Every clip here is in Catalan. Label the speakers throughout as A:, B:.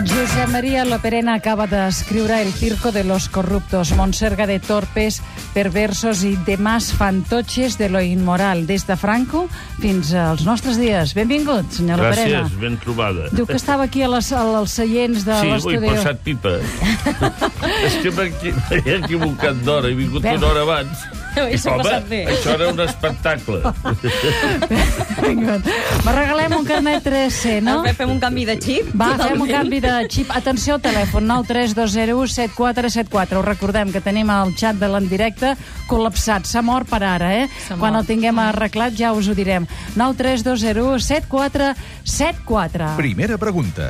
A: Josep María Loperena acaba d'escriure El circo de los corruptos, Monserga de torpes, perversos i demás fantoches de lo inmoral, des de Franco fins als nostres dies. Benvingut, senyor Loperena.
B: Gràcies, ben trobada.
A: Diu que estava aquí a les, a, als seients de
B: Sí, ho he
A: l'estudi.
B: passat pipa. És que m'he m'he equivocat d'hora, he vingut
A: Bé.
B: una hora abans.
C: Ho has
B: Home,
C: passat bé.
B: això era un espectacle.
A: Vinga. Me regalem un carnet 3C, no?
C: Fem un canvi de xip.
A: Va, fem un
C: totalment.
A: canvi de xip. Atenció al telèfon, 932017474. Us recordem que tenim el xat de l'endirecte col·lapsat. S'ha mort per ara, eh?
C: S'ha mort.
A: Quan el tinguem arreglat ja us ho direm. 932017474.
D: Primera pregunta.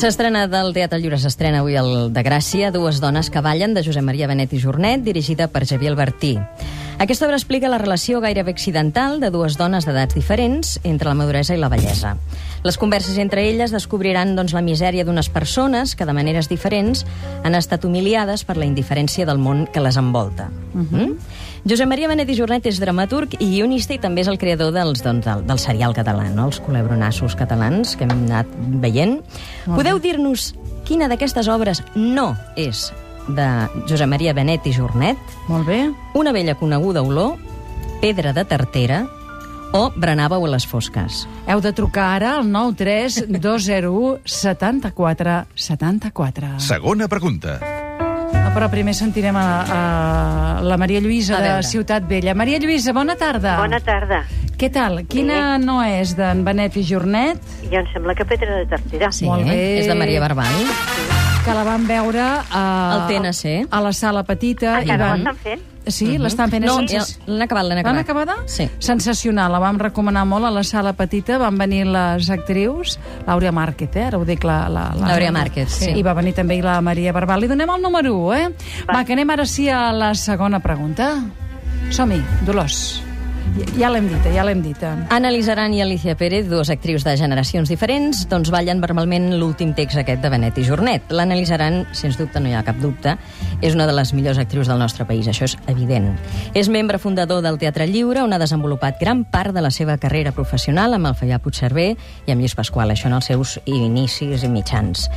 C: S'estrena del Teatre Lliure, s'estrena avui el de Gràcia, Dues dones que ballen, de Josep Maria Benet i Jornet, dirigida per Xavier Albertí. Aquesta obra explica la relació gairebé accidental de dues dones d'edats diferents entre la maduresa i la bellesa. Les converses entre elles descobriran doncs, la misèria d'unes persones que, de maneres diferents, han estat humiliades per la indiferència del món que les envolta. Mm
A: Mhm.
C: -hmm. Josep Maria Benet i Jornet és dramaturg i guionista i també és el creador dels, doncs, del, del serial català, no? els culebronassos catalans que hem anat veient. Podeu dir-nos quina d'aquestes obres no és de Josep Maria Benet i Jornet?
A: Molt bé.
C: Una vella coneguda olor, Pedra de Tartera o Berenàveu a les fosques?
A: Heu de trucar ara al 932017474.
D: Segona pregunta.
A: Ah, Però primer sentirem a, a la Maria Lluïsa
C: A
A: de
C: veure.
A: Ciutat Vella. Maria Lluïsa, bona tarda.
E: Bona tarda.
A: Què tal? Quina no és d'en Benet i Jornet?
E: Jo em sembla que Pedra de Tartera.
C: Sí, eh?
A: Molt bé.
C: És de Maria Barbal.
A: que la van veure a,
C: Al TNC.
A: a la sala petita.
E: Ah, que no
A: van...
E: l'estan fent?
A: Sí, l'estan fent.
C: Mhm. No,
A: és
C: ja
A: sensa-
C: l'han acabat, l'han acabat.
A: L'han acabada?
C: Sí.
A: Sensacional, la vam recomanar molt a la sala petita, van venir les actrius, l'Àurea Márquez, eh? ara ho dic la... la, la
C: L'Àurea Márquez, sí.
A: I va venir també la Maria Barbal. Li donem el número 1, eh? Va, que anem ara sí a la segona pregunta. Som-hi, Dolors. Ja, ja l'hem dita, ja l'hem dita.
C: Anna Lizaran i Alicia Pérez, dues actrius de generacions diferents, doncs ballen verbalment l'últim text aquest de Benet i Jornet. L'Anna Lizaran, sens dubte, no hi ha cap dubte, és una de les millors actrius del nostre país, això és evident. És membre fundador del Teatre Lliure, on ha desenvolupat gran part de la seva carrera professional amb el Fallà Puigcerver i amb Lluís Pasqual, això en els seus inicis i mitjans.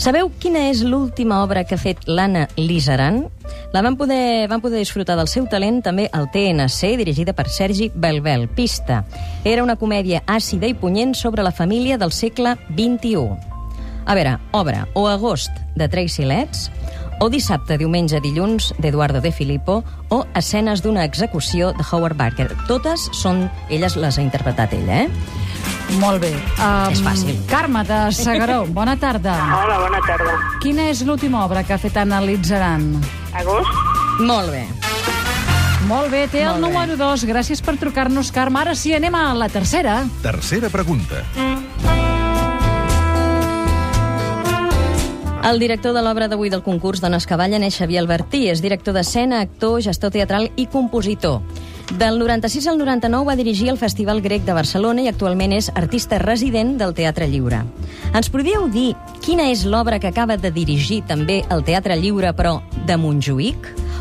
C: Sabeu quina és l'última obra que ha fet l'Anna Lizaran? eh, La van poder, van poder disfrutar del seu talent també al TNC, dirigida per Sergi Belbel, Pista. Era una comèdia àcida i punyent sobre la família del segle XXI. A veure, obra o agost de Tracy Letts, o dissabte, diumenge, dilluns d'Eduardo de Filippo, o escenes d'una execució de Howard Barker. Totes són... Elles les ha interpretat ella, eh?
A: Molt bé. Um,
C: És fàcil.
A: Carme de Segaró, bona tarda.
E: Hola, bona tarda.
A: Quina és l'última obra que ha fet analitzaran?
E: Agost?
C: Molt bé.
A: Molt bé, té el
C: Molt bé.
A: número 2. Gràcies per trucar-nos, Carme. Ara sí, anem a la tercera.
D: Tercera pregunta.
C: El director de l'obra d'avui del concurs Dones que ballen és Xavier Albertí. És director d'escena, actor, gestor teatral i compositor. Del 96 al 99 va dirigir el Festival Grec de Barcelona i actualment és artista resident del Teatre Lliure. Ens podríeu dir quina és l'obra que acaba de dirigir també el Teatre Lliure, però de Montjuïc?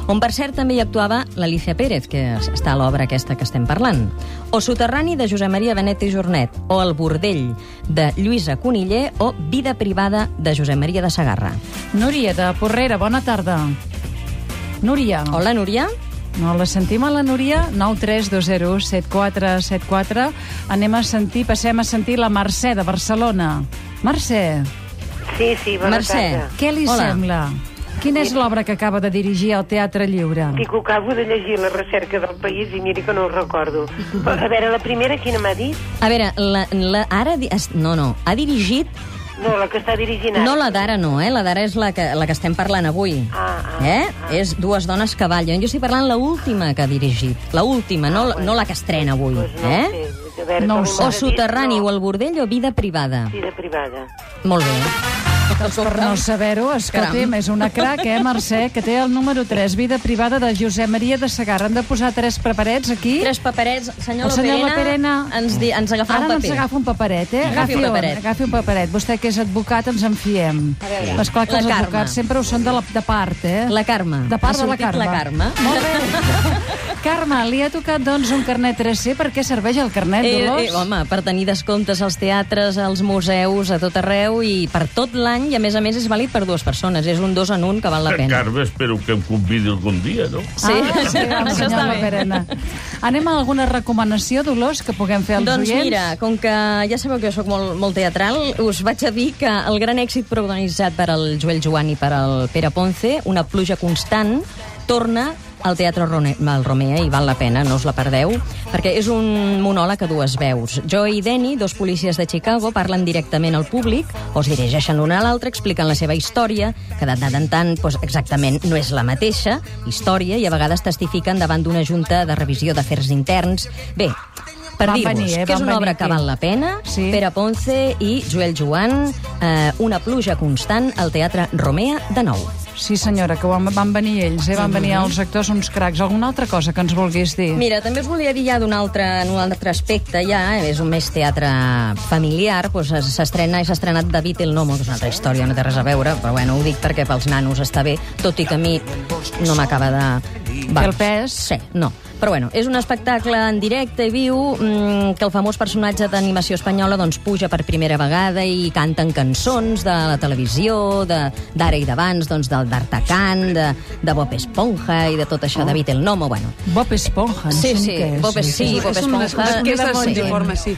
C: On, per cert, també hi actuava l'Alicia Pérez, que està a l'obra aquesta que estem parlant. O Soterrani, de Josep Maria Benet i Jornet. O El Bordell, de Lluïsa Coniller. O Vida privada, de Josep Maria de Sagarra.
E: Ah.
A: Núria de Porrera, bona tarda. Núria.
C: Hola, Núria.
A: No la sentim a la Núria? 932017474. Anem a sentir, passem a sentir la Mercè de Barcelona. Mercè,
E: Sí, sí, bona
C: Mercè.
E: tarda.
A: què li
C: Hola.
A: sembla? Quina és l'obra que acaba de dirigir al Teatre Lliure?
E: Dic, ho acabo de llegir la recerca del país i miri que no ho recordo. Però, a veure, la primera quina m'ha dit?
C: A veure, la, la, ara... di- es- No, no, ha dirigit...
E: No, la que està dirigint ara.
C: No, la d'ara no, eh? La d'ara és la que, la que estem parlant avui.
E: Ah, ah,
C: eh? És Dues dones que ballen. Jo estic parlant la última que ha dirigit. La última, no, la- no la que estrena avui.
E: Pues Ah, Doncs no
C: eh?
E: ho sé. A veure,
A: No
E: com
A: ho sé.
E: m'ha
C: O
E: dit,
C: Soterrani,
E: no.
C: o El Bordell, o Vida privada.
E: Vida privada.
C: Molt bé.
A: Doncs Per no saber-ho, escolti'm,
C: Caram.
A: és una crac, eh, Mercè, que té el número 3, vida privada de Josep Maria de Segarra. Hem de posar tres preparets aquí.
C: Tres paperets. Senyor,
A: El senyor Loperena
C: ens, di, ens agafarà
A: Ara
C: un
A: no ens
C: paper.
A: agafa un paperet, eh?
C: Agafi un paperet.
A: Agafi un paperet. Vostè, que és advocat, ens en fiem. Esclar que
C: La
A: els
C: Carme.
A: advocats sempre ho són de, la, de part, eh?
C: La Carme.
A: De part
C: Ha
A: de la
C: sortit
A: Carme.
C: la Carme.
A: Molt bé. Carme, li ha tocat doncs un carnet 3C. Per què serveix el carnet, Dolors?
C: Eh, eh, home, per tenir descomptes als teatres, als museus, a tot arreu i per tot l'any, i a més a més és vàlid per dues persones. És un dos en un que val la pena.
B: Carme, espero que em convidi algun dia, no?
C: Sí,
A: ah, sí,
C: això està bé.
A: Perena. Anem a alguna recomanació, Dolors, que puguem fer als
C: doncs
A: oients?
C: mira, com que ja sabeu que jo sóc molt, molt teatral, us vaig a dir que el gran èxit protagonitzat per al Joel Joan i per al Pere Ponce, una pluja constant, torna al Teatre Rone- al Romea i val la pena, no us la perdeu, perquè és un monòleg a dues veus. Joe i Denny, dos policies de Chicago, parlen directament al públic o es dirigeixen l'un a l'altre, expliquen la seva història, que de tant en tant doncs, exactament no és la mateixa història i a vegades testifiquen davant d'una junta de revisió d'afers interns. Bé, per
A: Van
C: dir-vos
A: venir, eh?
C: que és
A: Van
C: una obra
A: venir
C: que
A: aquí.
C: val la pena,
A: Sí.
C: Pere Ponce i Joel Joan, eh, una pluja constant al Teatre Romea de nou.
A: Sí, senyora, que van, van venir ells, eh? van venir els actors uns cracs. Alguna altra cosa que ens vulguis dir?
C: Mira, també us volia dir ja d'un altre, en un altre aspecte, ja, eh, és un més teatre familiar, doncs es- s'estrena i s'ha estrenat David el Nomo, que és una altra història, no té res a veure, però bueno, ho dic perquè pels nanos està bé, tot i que a mi no m'acaba de...
A: Fer el pes?
C: Sí, no. Però bueno, és un espectacle en directe i viu mm, que el famós personatge d'animació espanyola doncs, puja per primera vegada i canten cançons de la televisió, de- d'ara i d'abans, doncs, del d'Artacan, de, de Bob Esponja i de tot
A: Oh.
C: això, David el Nomo, bueno.
A: Bob Esponja, no
C: Sí,
A: sé
C: sí,
A: què és.
C: Bob es- sí, Bob
F: És un
C: Esponja.
F: es queda
A: Queda molt
F: molt
A: lluny.
F: forma, sí.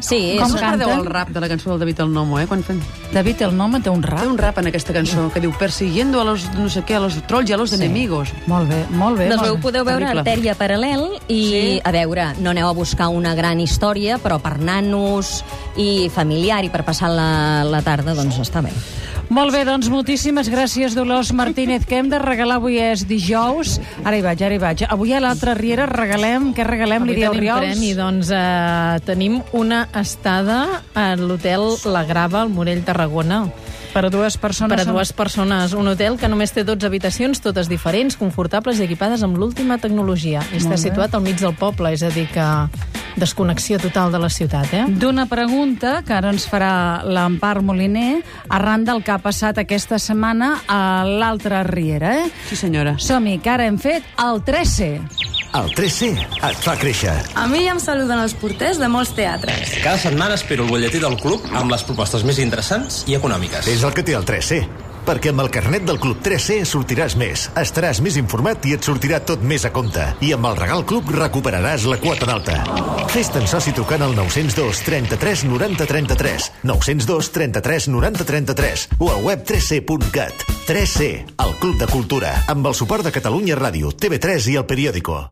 C: Sí,
A: Com
C: és,
F: Com
A: canten?
F: canteu el rap de la cançó del David el Nomo, eh? Quan fan...
A: David, el nom té un
F: Té
A: rap.
F: un rap en aquesta cançó que diu persiguiendo a los, no sé què, a los trolls i a los enemigos.
A: Molt bé, molt bé.
C: Doncs
A: molt
C: veu,
A: bé.
C: podeu veure
F: Terrible.
C: Artèria Paral·lel i, a veure, no aneu a buscar una gran història, però per nanos i familiar i per passar la, la tarda, doncs està bé.
A: Molt bé, doncs moltíssimes gràcies, Dolors Martínez, que hem de regalar avui és dijous. Ara hi vaig, ara hi vaig. Avui a l'altra Riera regalem, què regalem,
G: Avui
A: Lídia
G: tenim
A: Oriols?
G: premi, doncs eh, tenim una estada a l'hotel La Grava, al Morell, Tarragona.
A: Per a dues persones.
G: Per a
A: som-
G: dues persones, un hotel que només té 12 habitacions, totes diferents, confortables i equipades amb l'última tecnologia. I està situat al mig del poble, és a dir que desconnexió total de la ciutat, eh?
A: d'una pregunta que ara ens farà l'Empar Moliner arran del que ha passat aquesta setmana a l'altra Riera. Eh?
F: Sí, senyora.
A: Som-hi, que ara hem fet el 3C.
H: El 3C et fa créixer.
I: A mi ja em saluden els porters de molts teatres.
J: Cada setmana espero el butlletí del club amb les propostes més interessants i econòmiques.
H: És el que té el 3C. Perquè amb el carnet del Club 3C sortiràs més, estaràs més informat i et sortirà tot més a compte. I amb el Regal Club recuperaràs la quota d'alta. Fes-te'n soci trucant al 902 33 90 33, 902 33 90 33 o al web 3C.cat. 3C, el Club de Cultura, amb el suport de Catalunya Ràdio, TV3 i El Periòdico.